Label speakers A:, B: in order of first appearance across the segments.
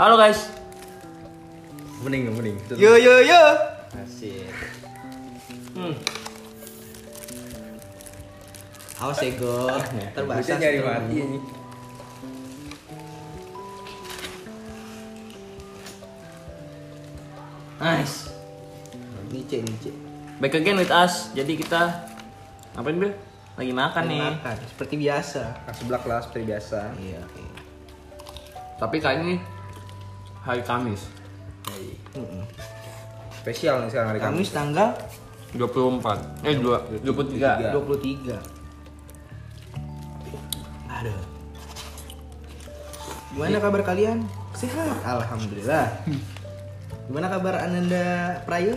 A: Halo guys.
B: Mending, mending.
A: Yo yo yo.
C: Asik.
A: Hmm.
C: Awas ya, Go. Ntar basah.
B: Terbaca nyari mati ini.
A: Nice.
C: Nice, nice.
A: Back again with us. Jadi kita ngapain Bil? Lagi makan nih.
C: Makan, seperti biasa.
B: Nah, sebelah kelas seperti biasa.
C: Iya, oke.
A: Tapi kali ini hari Kamis
C: Mm-mm.
B: Spesial nih Nah, sekarang hari Kamis.
C: Kamis tanggal
A: 24. Eh 2 23.
C: 23. Aduh. Gimana kabar kalian? Iya. Sehat, alhamdulillah. Gimana kabar Ananda Prayo?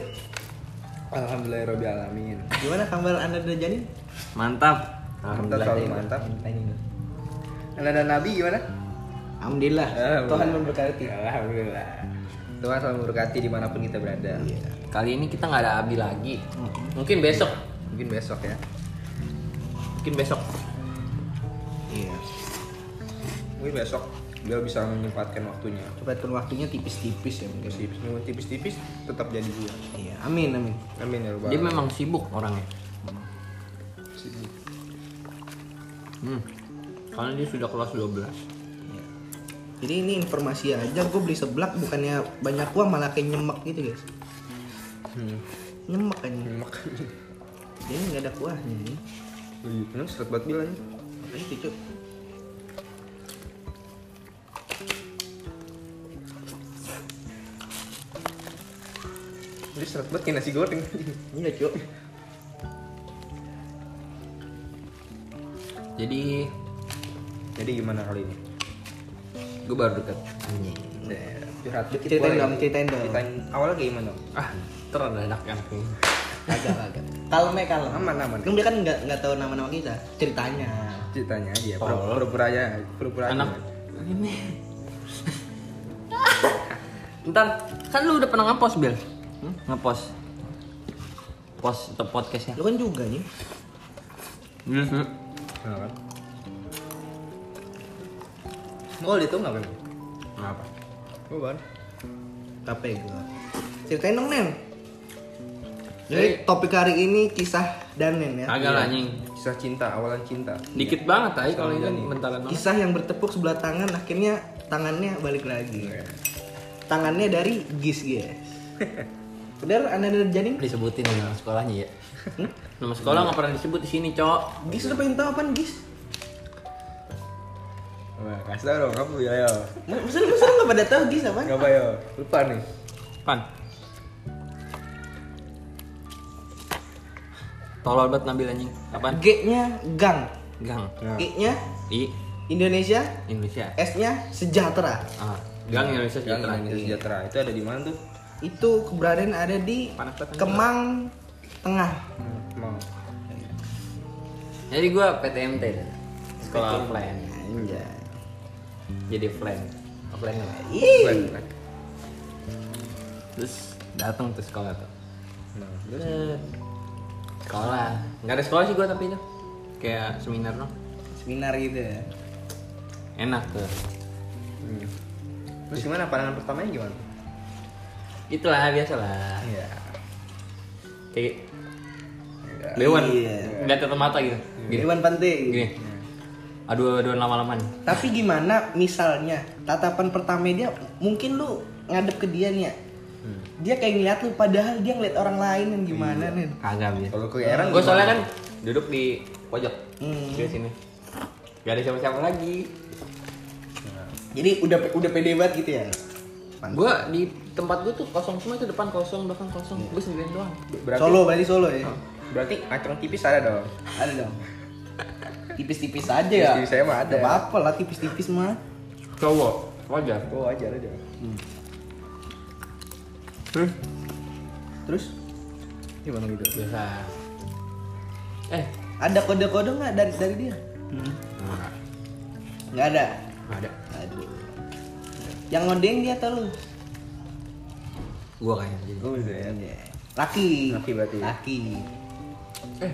B: Alhamdulillah Robbi alamin.
C: Gimana kabar Ananda Janin?
A: Mantap.
B: Mantap selalu mantap. Anda dan Nabi gimana?
C: Alhamdulillah. Tuhan memberkati.
B: Alhamdulillah. Tuhan selalu memberkati dimanapun kita berada.
C: Iya.
A: Kali ini kita nggak ada Abi lagi.
C: Mm-mm.
A: Mungkin besok.
B: Mungkin besok ya.
A: Mungkin besok.
C: Iya.
B: Mungkin besok dia bisa menyempatkan waktunya.
C: Cepatkan waktunya tipis-tipis ya mungkin.
B: Tipis- Tipis-tipis tetap jadi dia.
C: Iya, amin amin.
B: Amin ya Robbal
A: Dia
B: alamin.
A: memang sibuk orangnya.
B: Sibuk.
A: Hmm. Karena dia sudah kelas 12.
C: Iya. Jadi ini informasi aja, gue beli seblak bukannya banyak uang malah kayak nyemek gitu guys.
B: Hmm.
C: Nyemek kan,
B: Nyemek. Hmm.
C: jadi nggak ada kuahnya nih.
B: Wih, Ini seret banget bilang.
C: Makanya itu Cuk.
B: Ini seret banget kayak nasi goreng.
C: Iya cuk.
A: Jadi
B: Jadi gimana kali ini? Gue baru dekat. Curhat dikit
C: Iya. Ceritain
B: boleh.
C: dong, ceritain dong.
B: Ceritain awalnya kayak gimana?
A: ah terdadak yang
C: Agak agak. Kalme kalem.
B: Aman, aman.
C: Kan dia kan nggak nggak tahu nama-nama kita. Ceritanya.
B: Ceritanya aja,
A: Oh.
B: pura- pura-pura aja, pura-pura aja.
A: anak ini. Ntar kan lu udah pernah ngepost Bil? Hmm? Ngepost. Post atau podcastnya?
C: Lu kan juga nih.
A: Iya sih.
B: Nah, kan? Oh, dia tuh nggak Bang?
A: Kenapa?
B: Oh, Bang.
C: Capek gue. Ceritain dong
A: Eh.
C: Nen. Jadi topik hari ini kisah Danen ya.
A: Agak lah anjing.
B: Kisah cinta, awalan cinta.
A: Dikit banget tadi kalau ini kan bentaran banget.
C: Kisah yang bertepuk sebelah tangan akhirnya tangannya balik lagi.
B: Iya.
C: Tangannya dari Gis guys. Bener Ananda Janin?
A: disebutin nama sekolahnya ya. Nama sekolah nggak pernah disebut di sini, Cok.
C: Gis lu pengen tahu apaan Gis?
B: Wah, kasih tau dong, kamu ya, yo.
C: Masa lu masa lu nggak pada tahu Gis apaan?
B: Nggak apa, yo. Lupa nih.
A: Pan. Tolol banget ngambil anjing. Apaan?
C: G-nya gang.
A: Gang.
B: Nah,
C: G-nya
A: I
C: Indonesia,
A: Indonesia.
C: S-nya sejahtera.
A: Ah, Gang Indonesia
B: yang
A: sejahtera.
B: Indonesia sejahtera itu ada di mana tuh?
C: Itu keberadaan ada di
A: Panas banget.
C: Kemang Tengah.
B: Hmm, Mau.
A: Jadi gua PTMT dah. Sekolah offline.
C: Anjay.
A: Jadi offline. Offline lah.
C: Ih.
A: Terus datang tuh sekolah tuh.
B: Nah, terus
A: Set. Sekolah. Enggak ada sekolah sih gua tapi itu. Kayak seminar dong.
C: Seminar gitu ya.
A: Enak tuh.
B: hmm. Terus gimana pandangan pertamanya gimana?
A: Itulah biasalah.
B: Iya.
A: Kayak
B: Iya.
A: Dewan.
C: Iya.
A: Lihat tetap mata gitu. Gini.
C: Dewan penting.
A: Gini. Aduh, aduh lama-lama nih.
C: Tapi gimana misalnya tatapan pertama dia mungkin lu ngadep ke dia nih ya. Dia kayak ngeliat lu padahal dia ngeliat orang lain yang gimana nih.
A: Kagak biasa.
B: Kalau kegeeran
A: Gue
B: gimana?
A: soalnya kan duduk di pojok.
C: Hmm.
A: Di sini. Gak ada siapa-siapa lagi.
C: Jadi udah udah pede banget gitu ya.
A: Gue di tempat gue tuh kosong semua itu depan kosong, belakang kosong. Gue sendirian doang.
B: berarti
C: Solo berarti solo ya.
B: berarti acung tipis ada dong.
C: Ada dong. Tipis-tipis aja ya.
B: Tipis-tipis aja mah ada.
C: Gak apa-apa lah tipis-tipis mah.
A: Cowok. Wajar.
B: Oh, aja ada dong.
A: Terus?
C: Terus
B: Gimana gitu?
A: Biasa. Eh.
C: ada kode-kode nggak dari dari dia?
A: Nggak.
C: Nggak ada.
A: Nggak ada.
C: Aduh. Yang ngodeng dia atau lu?
A: Gue kayaknya jadi.
B: Gue bisa ya.
C: Eh,
B: Ah.
C: Laki. ya?
B: Laki berarti. ya.
C: Laki.
A: Eh.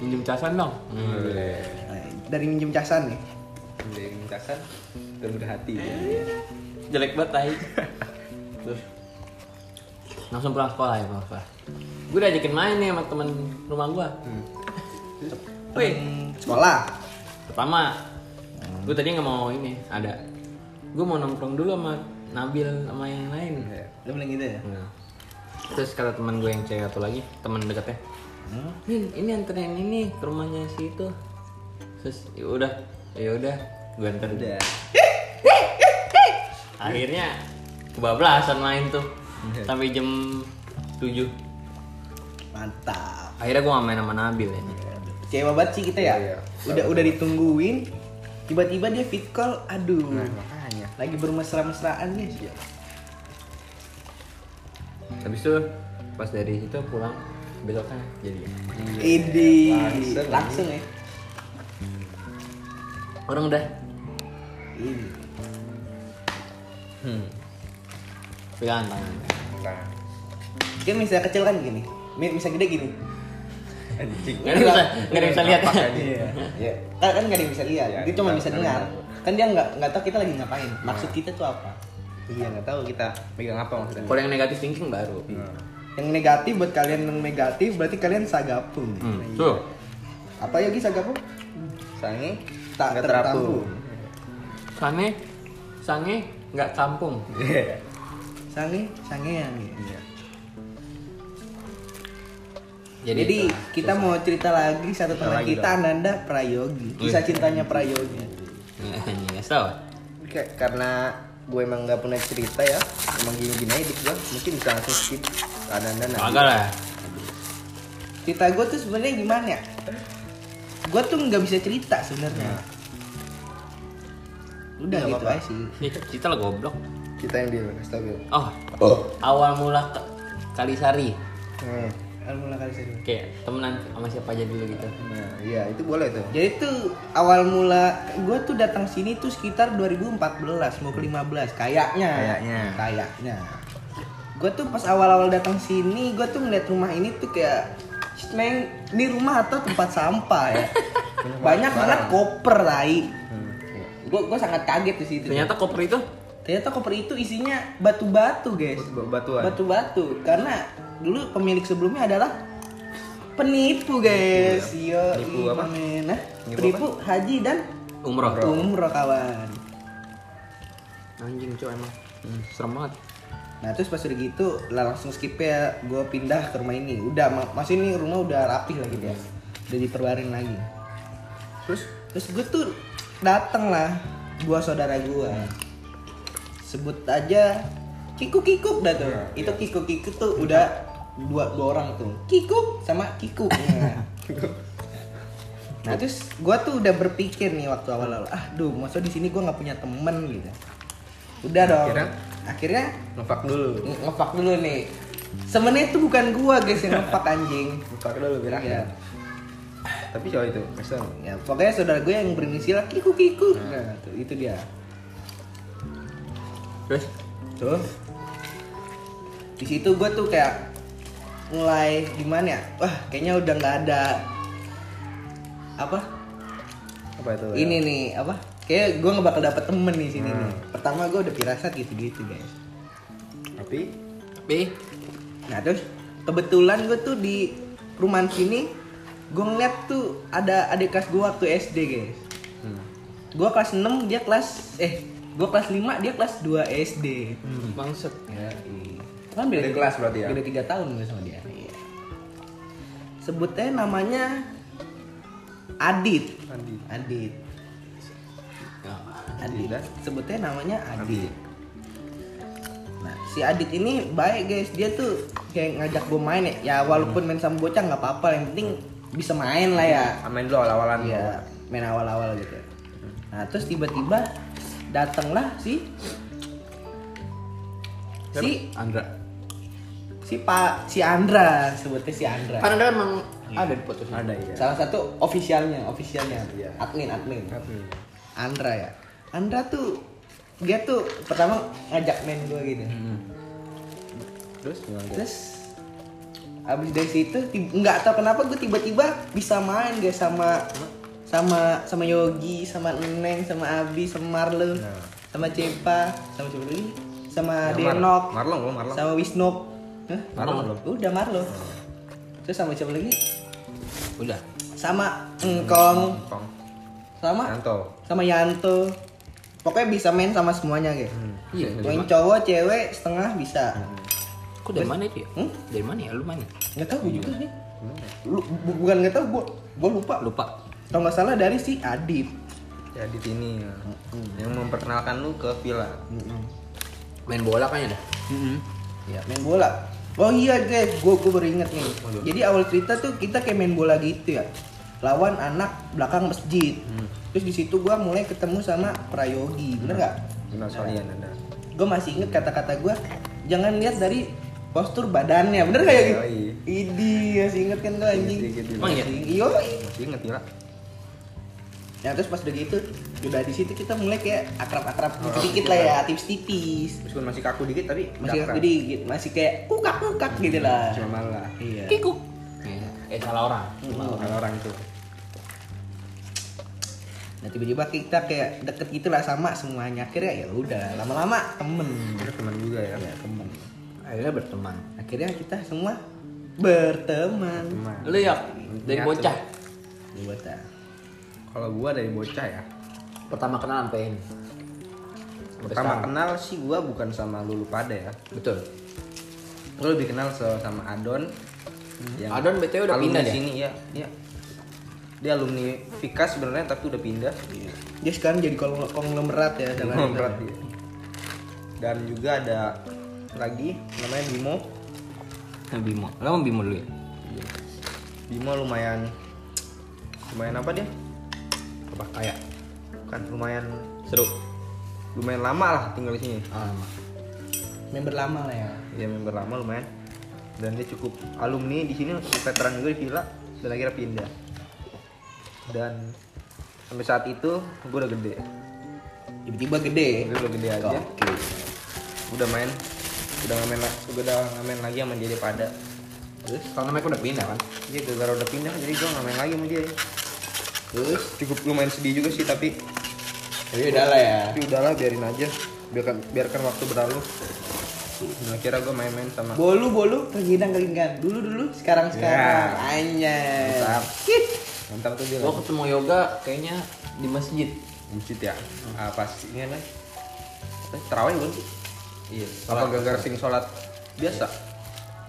A: Minjem casan dong.
B: Boleh.
C: Nah, Dari minjem Eh, casan nih.
B: Dari mintasan, dari mudah hati.
A: jelek banget tai terus langsung pulang sekolah ya pulang sekolah gue udah ajakin main nih sama temen rumah gue wih
C: Hmm, sekolah
A: pertama gue tadi nggak mau ini ada gue mau nongkrong dulu sama Nabil sama yang lain
C: lu bilang gitu ya
A: Nah. terus kata teman gue yang cewek satu lagi teman dekatnya
B: Hmm.
A: Min, ini anterin ini ke rumahnya si itu terus ya udah ya udah gue anter
B: Udah.
A: akhirnya kebablasan main tuh
C: Iya.
A: sampai jam 7
C: mantap
A: akhirnya gue main sama Nabil ya
C: Iya. kecewa banget sih kita ya
B: Iya,
C: udah udah ditungguin tiba-tiba dia fit call aduh
B: makanya.
C: lagi bermesra-mesraan guys
B: Iya.
A: habis itu pas dari situ pulang besoknya jadi
C: Idi
B: Langsung.
C: langsung ya
A: orang udah
C: Ini.
B: Hmm.
A: pegangan tangan
C: Iya.
B: Nah.
C: kan bisa kecil kan gini Mi- bisa gede gini
B: Anjing.
A: nggak ada yang bisa nggak ada yang bisa lihat
B: Apa tadi?
C: Iya. kan kan nggak ada yang bisa lihat
B: Iya,
C: dia cuma
B: kita-
C: bisa
B: kita
C: dengar
B: nggak
C: kan dia nggak nggak tahu kita lagi ngapain maksud kita tuh apa
B: Iya nggak tahu kita pegang apa maksudnya.
A: kalau yang negatif thinking baru
C: Iya.
B: Nah.
C: yang negatif buat kalian yang negatif berarti kalian sagapung
A: hmm. tuh
C: apa yogi sagapung
B: Sangi
C: Tak
B: nggak
C: tertampung.
A: sange sange nggak tampung
B: Iya.
C: sange sangean
B: Iya.
C: jadi, kita mau cerita lagi satu
B: Iya,
C: teman
B: lagi
C: kita Ananda Prayogi kisah cintanya Prayogi
A: nggak tahu
B: Kayak karena gue emang nggak punya cerita Ah, ya, emang gini-gini aja hidup gue, mungkin bisa langsung skip keadaan dan
A: agak lah
C: cerita gue tuh sebenarnya gimana ya gue tuh nggak bisa cerita sebenarnya
B: Nah.
C: udah
B: Nggak
C: gitu
B: apa-apa.
C: aja sih
A: Ih, kita lah goblok
B: Kita yang deal, kasih tau Bil.
A: oh
B: Oh.
A: awal mula ke Kalisari
B: Hmm.
C: Alhamdulillah kali serius
A: kayak temenan sama siapa aja dulu gitu
B: Nah, iya itu boleh tuh.
C: Jadi tuh awal mula gue tuh datang sini tuh sekitar 2014 mau ke 15 kayaknya.
B: Kayaknya.
C: Kayaknya.
B: Nah.
C: Gue tuh pas awal-awal datang sini gue tuh ngeliat rumah ini tuh kayak "Shit, Neng, ini rumah atau tempat sampah ya. Banyak banget koper tai.
B: Hmm. Iya.
C: Gue gue sangat kaget di situ.
A: ternyata koper itu
C: Ternyata koper itu isinya batu-batu, guys.
B: Batu- Batuan.
C: Batu-batu karena dulu pemilik sebelumnya adalah penipu, guys. Iya,
B: Penipu apa?
C: Nah,
B: Penipu
C: penipu haji dan
A: umroh
C: umroh kawan.
A: anjing cowok emang Hmm, serem banget
C: Nah, terus pas udah gitu, lah langsung skip ya. Gue pindah ke rumah ini. Udah, ma- mas ini rumah udah rapih lagi dia. Udah diperbarin lagi.
B: Terus
C: Terus gue tuh dateng lah dua saudara gue. Sebut aja kikuk kikuk dah tuh. Itu kikuk kikuk tuh udah dua, dua orang tuh. Kikuk sama kikuk. Nah. Nah terus gue tuh udah berpikir nih waktu awal-awal, ah duh, masa di sini gue nggak punya temen gitu. Udah dong.
B: Akhirnya?
C: akhirnya
B: ngepak dulu.
C: nge- ngepak dulu nih. Semennya itu bukan gue guys yang ngepak anjing.
B: Ngepak dulu Bil. Nah,
C: Iya.
B: Tapi cowok itu, kasih tau.
C: Ya, pokoknya saudara gue yang berinisial kiku kiku. Nah, tuh, itu dia.
A: terus
C: Tuh. Di situ gue tuh kayak mulai gimana ya? Wah, kayaknya udah nggak ada apa?
B: Apa itu? ya?
C: Ini nih, apa? Kayak gue nggak bakal dapet temen di sini nih. Pertama gue udah pirasat gitu-gitu, guys.
B: Tapi
A: tapi
C: Nah, terus kebetulan gue tuh di perumahan sini gue ngeliat tuh ada adik kelas gue waktu SD, guys.
B: hmm.
C: Gue kelas 6, dia kelas eh gue kelas 5, dia kelas 2 SD.
A: bangset
C: Ya, kan
B: Iya. Beda
C: beda
B: kelas berarti ya?
C: Beda tiga tahun gue sama dia. Iya. Sebutnya namanya Adit.
B: mandi.
C: Adit. Adit.
B: Adit.
C: Sebutnya namanya Adit. Nah, si Adit ini baik guys. Dia tuh kayak ngajak gue main ya. Ya walaupun main sama bocah nggak apa-apa. Yang penting bisa main lah ya.
B: Iya. Amin dulu awal-awalan.
C: Iya, main awal-awal gitu. Nah, terus tiba-tiba datanglah si si
A: Andra
C: si Pak si Andra sebutnya si Andra.
A: Andra emang Kan ada di foto sini
B: Ada iya.
C: Salah satu ofisialnya, ofisialnya.
B: Iya.
C: Admin, admin.
B: Tapi
C: Andra ya. Andra tuh dia tuh pertama ngajak main gue gitu.
B: terus
C: Iya,
B: gimana?
C: Terus abis dari situ ti- nggak tahu kenapa gue tiba-tiba bisa main guys sama sama sama Yogi, sama Neng, sama Abi, sama Marlo.
B: Nah.
C: sama Cepa sama siapa lagi sama
B: Ya, Mar-
C: Denok
B: Marlon gua Marlon. Ya.
C: Iya, sama Wisnop Hah?
B: Marlo belum?
C: udah Marlo terus sama siapa lagi
A: Udah.
C: sama Engkong
B: Kong.
C: sama
B: Nanto.
C: sama Yanto pokoknya bisa main sama semuanya gitu
B: Hmm.
A: Iya.
C: main cowok cewek setengah bisa
A: Kok dari mana itu ya?
C: Hmm?
A: Dari mana ya? Lu mana?
C: nggak tahu gue juga sih Lu, bu- bukan nggak tahu gue gue lupa
A: Lupa.
C: kalau nggak salah dari si Adit
B: Jadi ini ya.
C: Hmm.
B: yang memperkenalkan lu ke Villa.
A: Main bola kayaknya dah.
C: ya main bola oh iya guys gue gue beringat nih jadi awal cerita tuh kita kayak main bola gitu ya lawan anak belakang masjid terus di situ gue mulai ketemu sama Prayogi bener nggak Iya.
B: Villa Solian ada.
C: gue masih inget kata-kata gue jangan lihat dari postur badannya bener nggak ya gitu
B: Yoi.
C: idi masih inget kan tuh anjing
B: Inget, inget, inget.
A: Emang iya?
C: Yoi.
B: Masih inget Villa?
C: Nah terus pas udah gitu, udah di situ kita mulai kayak akrab-akrab
B: Oh,
C: sedikit lah ya, tipis-tipis.
B: Meskipun masih kaku dikit tapi
C: Masih
B: akrab.
C: jadi gitu, masih kayak kukak-kukak gitu lah.
B: Cuma malu lah.
C: Iya.
A: Kikuk. Eh salah orang.
B: Kalau orang tuh.
C: Nah tiba-tiba kita kayak deket gitu lah sama semuanya. Akhirnya ya udah, lama-lama temen.
B: Terus teman juga ya.
C: Ya temen.
A: Akhirnya berteman.
C: Akhirnya kita semua berteman.
B: Teman.
A: Lu ya dari
B: Nyatu.
A: bocah.
C: Buat ah.
B: Kalau gua dari bocah ya.
A: Pertama kenal sampai ini. Sampai
B: Pertama
A: sekarang.
B: kenal sih gua bukan sama lulu pada ya.
A: Betul.
B: Gue lebih kenal so- sama Adon.
A: Hmm. Adon BTW udah pindah
B: di
A: ya?
B: sini ya. Iya. Dia alumni Fika sebenarnya tapi udah pindah.
A: Iya.
C: Dia sekarang jadi konglo- konglomerat ya dalam
B: Berat dia. Dan juga ada lagi namanya Bimo.
A: Sama Nah, Bimo. Lu sama Bimo dulu ya?
B: Bimo lumayan lumayan apa dia?
A: Apa kayak
B: Bukan lumayan
A: seru.
B: lumayan lama lah tinggal di sini.
A: Ah,
C: member lama lah ya.
B: Dia Iya, member lama lumayan. Dan dia cukup alumni di sini veteran juga di Villa dan akhirnya pindah. Dan sampai saat itu gue udah gede.
C: Tiba-tiba gede.
B: Gue udah gede aja.
C: Oke.
B: udah main udah ngamen udah ngamen lagi sama dia pada
A: Terus karena mereka udah pindah kan?
B: dia gara-gara udah pindah jadi gue ngamen lagi sama dia
C: Terus,
B: cukup lumayan sedih juga sih tapi
C: tapi udah lah ya.
B: tapi udahlah biarin aja biarkan biarkan waktu berlalu nah, kira gue main-main sama
C: Bolu bolu terhidang kelingan. Dulu dulu sekarang sekarang.
B: Ya.
C: Anjay.
B: Mantap.
C: Hit.
B: mantap tuh dia
A: Gua ketemu yoga kayaknya di masjid.
B: buncit ya ah, pas ini lah Eh, terawih bukan sih
A: Iya.
B: apa gara-gara sing sholat biasa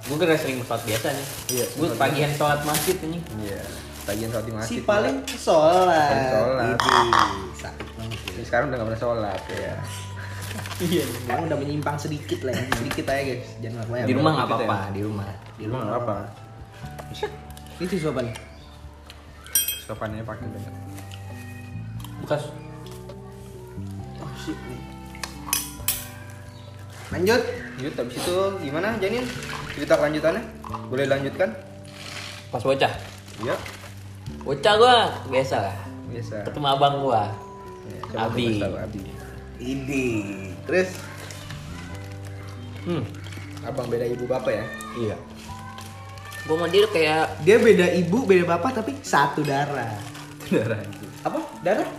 A: Gue kira sering sholat biasa nih.
B: Iya,
A: Gue
B: sholat
A: pagian sholat masjid nih.
B: iya tagihan sholat di
C: Si
B: masjid
C: paling sholat.
B: Paling sholat.
C: Idi, Sakit banget.
B: Jadi sekarang udah gak pernah sholat ya
C: Iya. Sekarang udah menyimpang sedikit lah ya. Sedikit aja guys. Jangan banyak.
A: Di rumah nggak
B: gitu ya?
A: apa-apa, di rumah.
B: di rumah nggak apa
C: Itu siapa nih?
B: sopannya pakai bener
A: Bekas
C: Oh shit nih. Lanjut.
B: Lanjut, habis itu gimana Janin? Cerita kelanjutannya? Boleh lanjutkan?
A: pas bocah.
B: Iya,
A: Bocah gua biasa lah.
B: biasa.
A: Ketemu abang gua.
B: Ya, coba
A: Abi.
B: kasih tahu Abi.
C: Ini. Terus
A: Hmm.
B: Abang beda ibu bapak ya?
A: Iya. Gua mau dia kayak
C: dia beda ibu, beda bapak tapi satu darah.
B: Darah itu.
C: Apa? Darah?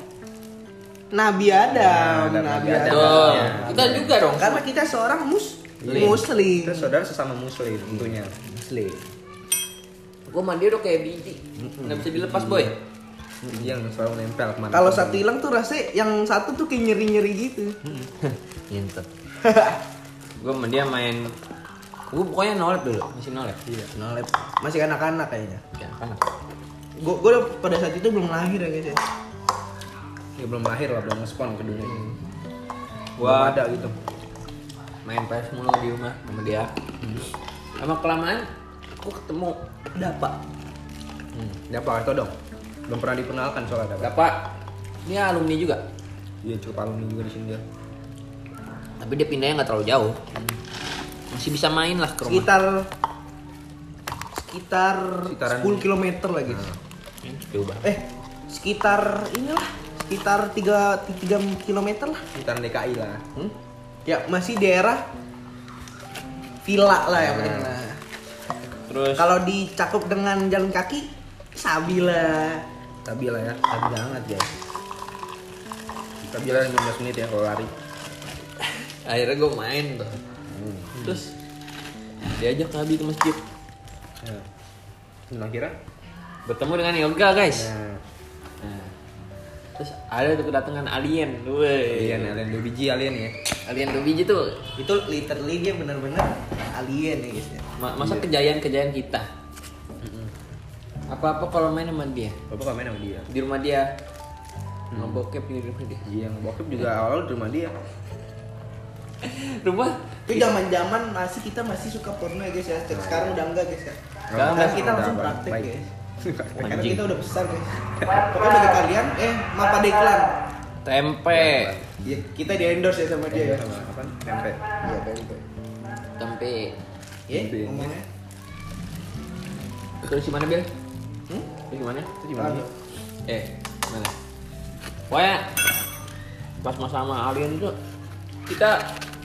C: Nabi Adam,
B: Ya,
C: Nabi
B: Nabi
C: Adam.
B: Adam.
A: Betul.
B: Iya.
A: Kita juga dong. kan?
C: Karena kita seorang mus
A: Muslim.
C: muslim.
B: Kita saudara sesama muslim tentunya.
C: Muslim.
A: Gua mandi udah kayak biji. Nggak bisa dilepas, boy.
B: Yang selalu nempel kemana
C: Kalau satu hilang tuh rasanya yang satu tuh kayak nyeri-nyeri gitu.
A: Nyentet. Gua sama dia main Gua pokoknya nolep dulu, masih nolep.
C: Iya, nolep. Masih anak-anak kayaknya.
A: Ya, kan.
C: Gue gue pada saat itu belum lahir ya guys ya.
B: Ya, belum lahir lah, belum respon ke dunia.
A: Gua-
B: Belum ada gitu.
A: main PS mulu di rumah sama dia sama kelamaan aku ketemu dapak
B: Dapat atau dong? Belum pernah diperkenalkan soalnya dapat.
A: dapak dia alumni juga
B: Iya cukup alumni juga di sini dia.
A: tapi dia pindahnya nggak terlalu jauh masih bisa main lah ke rumah
C: Sekitar sekitar
B: Sekitaran-
C: 10 km lah guys.
A: Hmm, jauh banget
C: Eh, sekitar inilah sekitar 3 3 km lah.
B: Kita DKI lah.
C: Hmm? Ya, masih daerah villa lah yang penting lah.
A: terus
C: Kalau dicakup dengan jalan kaki, sabila.
B: Tapi lah ya.
C: Tapi banget guys.
B: Tapi lah 15 menit ya kalau lari.
A: akhirnya gue main tuh terus diajak Abi ke masjid
B: Nah. Dan akhirnya
A: bertemu dengan yoga guys
B: nah,
A: Nah. terus ada tuh kedatangan alien weh
B: alien alien dua biji alien ya.
A: alien dua biji tuh
C: itu literally dia bener-bener alien ya guys ya.
A: Ma- masa kejayaan-kejayaan kita apa-apa kalau main sama dia
B: Bapak komen sama dia.
A: di rumah dia ngebokep di rumah dia
B: Iya, yang bokep juga awal di rumah dia.
A: rumah
C: itu
B: Iya.
C: zaman-zaman masih kita masih suka porno ya guys ya sekarang udah enggak guys ya
A: Sekarang
C: sekarang kita
B: udah
C: langsung
B: balik.
C: praktek
B: Baik.
C: guys karena
A: Anjing.
C: kita udah besar guys pokoknya bagi kalian eh mapa deklan
A: tempe
C: ya, kita di endorse ya sama dia ya
B: Sama apa? Tempe.
C: iya tempe
A: tempe
C: ya
B: Tempe.
C: ngomongnya
A: terus gimana bil
C: hmm?
A: terus gimana
B: Itu gimana?
C: Aduh.
A: eh mana pokoknya pas mau sama alien tuh kita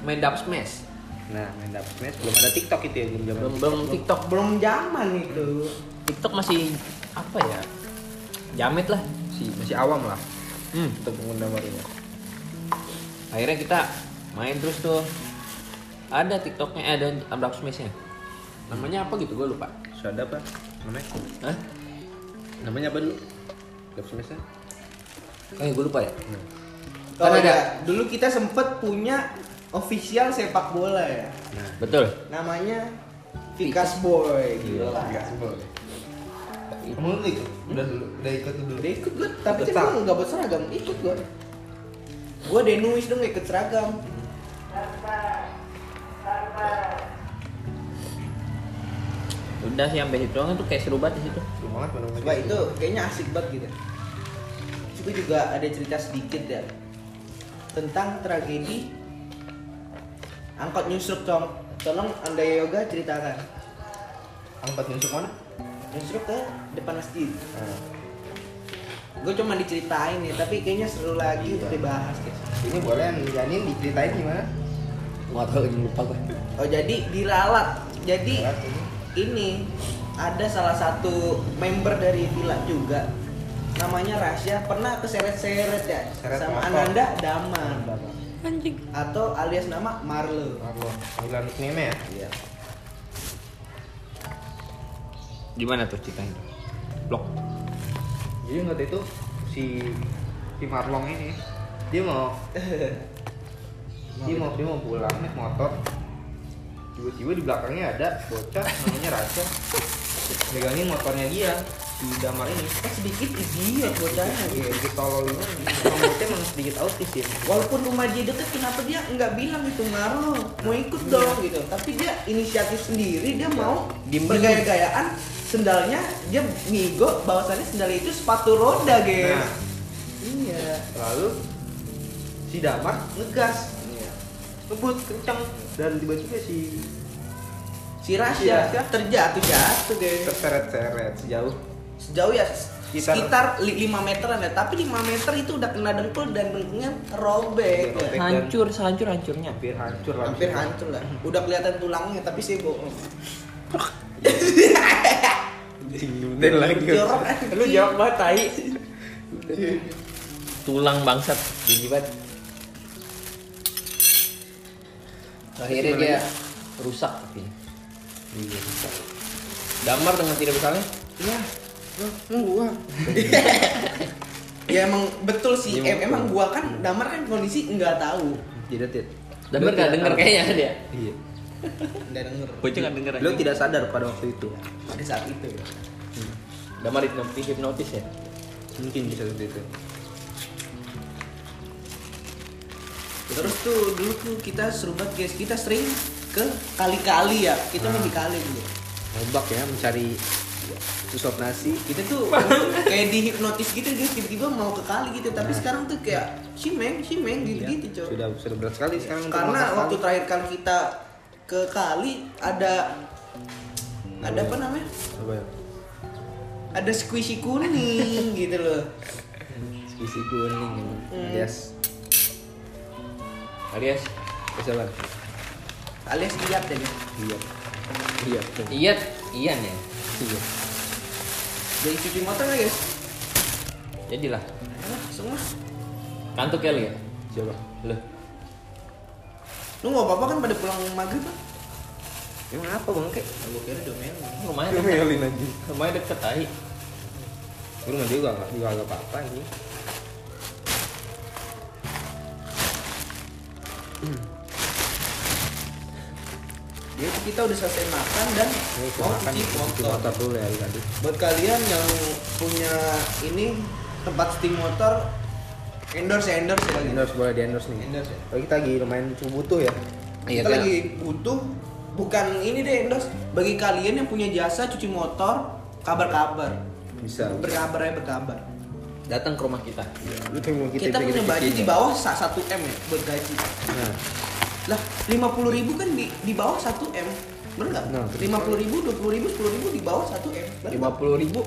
A: main dub smash
B: Nah, main dapet smash belum ada TikTok itu ya belum zaman.
A: belum belum tiktok
C: belum zaman itu
A: tiktok masih apa ya jamet lah
B: Masih, masih awam lah
A: hmm.
B: untuk pengguna barunya.
A: akhirnya kita main terus tuh ada tiktoknya eh, ada abrak smashnya namanya apa gitu gue lupa
B: Sudah apa? Namanya?
A: Hah?
B: Namanya apa dulu? Dapet smashnya?
A: eh gue lupa ya
C: oh
A: Kan ada.
C: ada dulu kita sempet punya official sepak bola ya
B: Nah,
A: betul
C: namanya Vikas Boy
B: Iya,
C: gila
B: Vikas Boy.
D: Kamu udah ikut? Udah dulu, udah ikut tuh dulu.
C: Udah ikut gue, tapi
B: Ikut
C: kan
B: seragam.
C: gue nggak buat seragam, ikut gue Gue denuis dong nggak ikut seragam
A: udah sih sampai situ doang tuh kayak seru banget di situ
B: seru banget main sama
C: Coba
B: dia.
C: itu kayaknya asik banget gitu Terus gue juga ada cerita sedikit ya Tentang tragedi Angkot nyusruk Cong Tolong anda yoga ceritakan
B: Angkat nusuk mana?
C: Nyusruk ke depan masjid
B: Nah,
C: Gue cuma diceritain ya, tapi kayaknya seru lagi untuk dibahas guys
B: ini boleh Janin diceritain gimana?
A: nggak tahu lagi lupa gue
C: Oh jadi diralat. Jadi
B: Diralat, ya. ini.
C: ini ada salah satu member dari Villa juga namanya Rasya pernah keseret-seret ya
B: Seret
C: sama
B: apa?
C: Ananda Daman
B: Bapak.
A: anjing
C: atau alias nama Marlo.
B: Marlo, panggilan nickname ya?
C: Iya.
A: gimana tuh ceritanya blok
B: Jadi waktu itu si si Marlong ini dia mau dia mau dia mau pulang naik motor tiba-tiba di belakangnya ada bocah namanya Raja megangin motornya dia si Damar ini
C: Eh, sedikit idiot bocahnya
B: Iya,
C: gitu.
B: sedikit tolol ini Emang bocah emang sedikit autis ya
C: Walaupun rumah dia deket, kenapa dia nggak bilang gitu Marlo mau ikut
B: Iya.
C: dong gitu? Tapi dia inisiatif sendiri, dia mau
A: Diem-diem.
C: bergaya-gayaan sendalnya dia ngigo, bahwasannya sendal itu sepatu roda guys.
B: Nah.
C: Iya.
B: lalu si Damar ngegas ngebut kencang Iya. dan tiba-tiba si
C: Si
B: Si
C: Rasya
B: Rasya.
C: terjatuh-jatuh guys.
B: terseret-seret sejauh
C: Sejauh ya
B: Sekitar-
C: sekitar, 5 meteran ya, tapi 5 meter itu udah kena dengkul dan dengkulnya robek.
B: Robek.
C: guys.
A: hancur hancur hancurnya
B: hampir hancur lah
C: Hampir hancur lah. Udah kelihatan tulangnya tapi sih bohong.
B: Bener lagi
C: Jorok.
A: Eh, lu jawab banget tai tulang bangsat jijik banget akhirnya dia rusak kakinya. damar dengan tidak bersalah
C: Iya. Gua. ya emang betul sih.
B: Iya,
C: Em- emang gua kan Damar kan kondisi nggak tahu.
B: Jadi tit.
A: damar
B: Lu
A: gak
B: tidak
A: denger
B: tahu.
A: kayaknya dia
B: Iya.
C: Nggak denger.
A: bocah gak denger
B: Lu tidak sadar pada waktu itu.
C: Pada saat itu. ya.
A: damar dihipnotis hipnotis ya
B: Mungkin bisa seperti itu.
C: Terus tuh dulu tuh kita seru banget guys. Kita sering ke kali-kali ya. Kita main di kali dulu.
B: Ngobak ya mencari susup nasi.
C: Kita tuh kayak dihipnotis gitu guys. Tiba-tiba mau ke kali gitu. Tapi sekarang tuh kayak simeng, simeng
B: Iya.
C: gitu-gitu coy.
B: Sudah sudah berat sekali sekarang untuk
C: Karena
B: masak
C: waktu
B: kali.
C: terakhir kali kita ke kali ada ada apa namanya?
B: Apa ya?
C: Ada squishy kuning gitu loh.
B: Sisi kuning.
C: Hmm.
B: Yes.
A: alias
B: Bisa bang.
C: alias lihat ya dia.
B: Iya. Iya.
A: iya iyan ya
B: Iya.
C: dari cuci motor ya guys
A: jadilah
C: Alah, semua
A: kantuk kali ya
B: Siapa?
A: lu
C: Lu mau apa kan pada pulang maghrib kan?
B: Emang apa bangke?
C: Gue kira domain.
A: Rumahnya
C: Iya.
B: Gue
A: deket,
B: melin aja.
A: rumahnya deket aja.
B: Gue rumah dia juga nggak- juga agak apa-apa ini.
C: Jadi kita udah selesai makan dan
B: Ini ikut
C: mau
B: makan
C: cuci
B: cuci
C: motor.
B: motor dulu ya tadi.
C: Buat kalian yang punya ini tempat steam motor endorse ya, endorse ya lagi.
B: Endorse boleh di endorse nih.
C: Endorse ya.
B: Kalau kita lagi lumayan cukup butuh ya.
A: Iya,
C: kita
A: kan?
C: lagi butuh bukan ini deh endorse bagi kalian yang punya jasa cuci motor kabar-kabar.
B: Bisa.
C: Berkabar ya berkabar.
A: Datang ke rumah kita.
B: Lu tunggu
C: Kita, punya baju di bawah sa- 1 M ya buat gaji.
B: Nah,
C: Lah, 50 ribu kan di, di bawah 1 M. Bener nggak?
B: Nah.
C: 50 ribu, 20 ribu, 10 ribu di bawah 1 M. Bener
A: Lima puluh ribu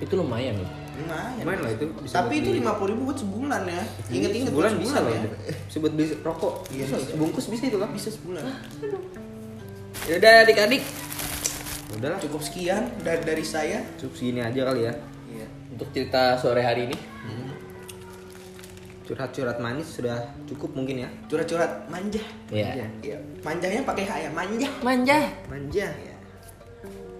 A: itu lumayan loh.
C: Lumayan.
B: Lumayan lah itu, bisa buat
C: Tapi itu
B: beli. Iya,
C: lima puluh ribu buat sebulan ya. Ingat-ingat
B: sebulan
C: buat
B: bisa lah ya.
C: ya.
B: Bisa buat beli rokok.
C: Iya,
B: Bisa,
C: bisa.
B: sebungkus bisa itu kan? lah.
C: Bisa sebulan.
A: Yaudah adik-adik.
B: Udahlah,
C: Cukup sekian dari dari saya.
B: cukup segini aja kali ya.
C: Iya.
A: Untuk cerita sore hari ini.
B: Curhat-curhat manis sudah cukup mungkin ya.
C: Curhat-curhat manja.
A: Iya.
C: Iya. Manjanya pakai H ya, manja.
A: Manja.
B: Manja.
C: Iya.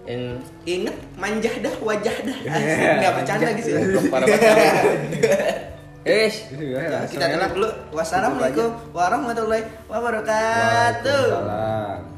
A: Yang
C: Ingat manja dah wajah dah. Enggak bercanda
B: manja.
C: gitu.
A: Goblok
B: Iya.
A: para pacaran. Yes.
C: Ya,
B: Ya,
C: kita tutup dulu. Wassalamualaikum warahmatullahi wabarakatuh.
B: Waalaikumsalam.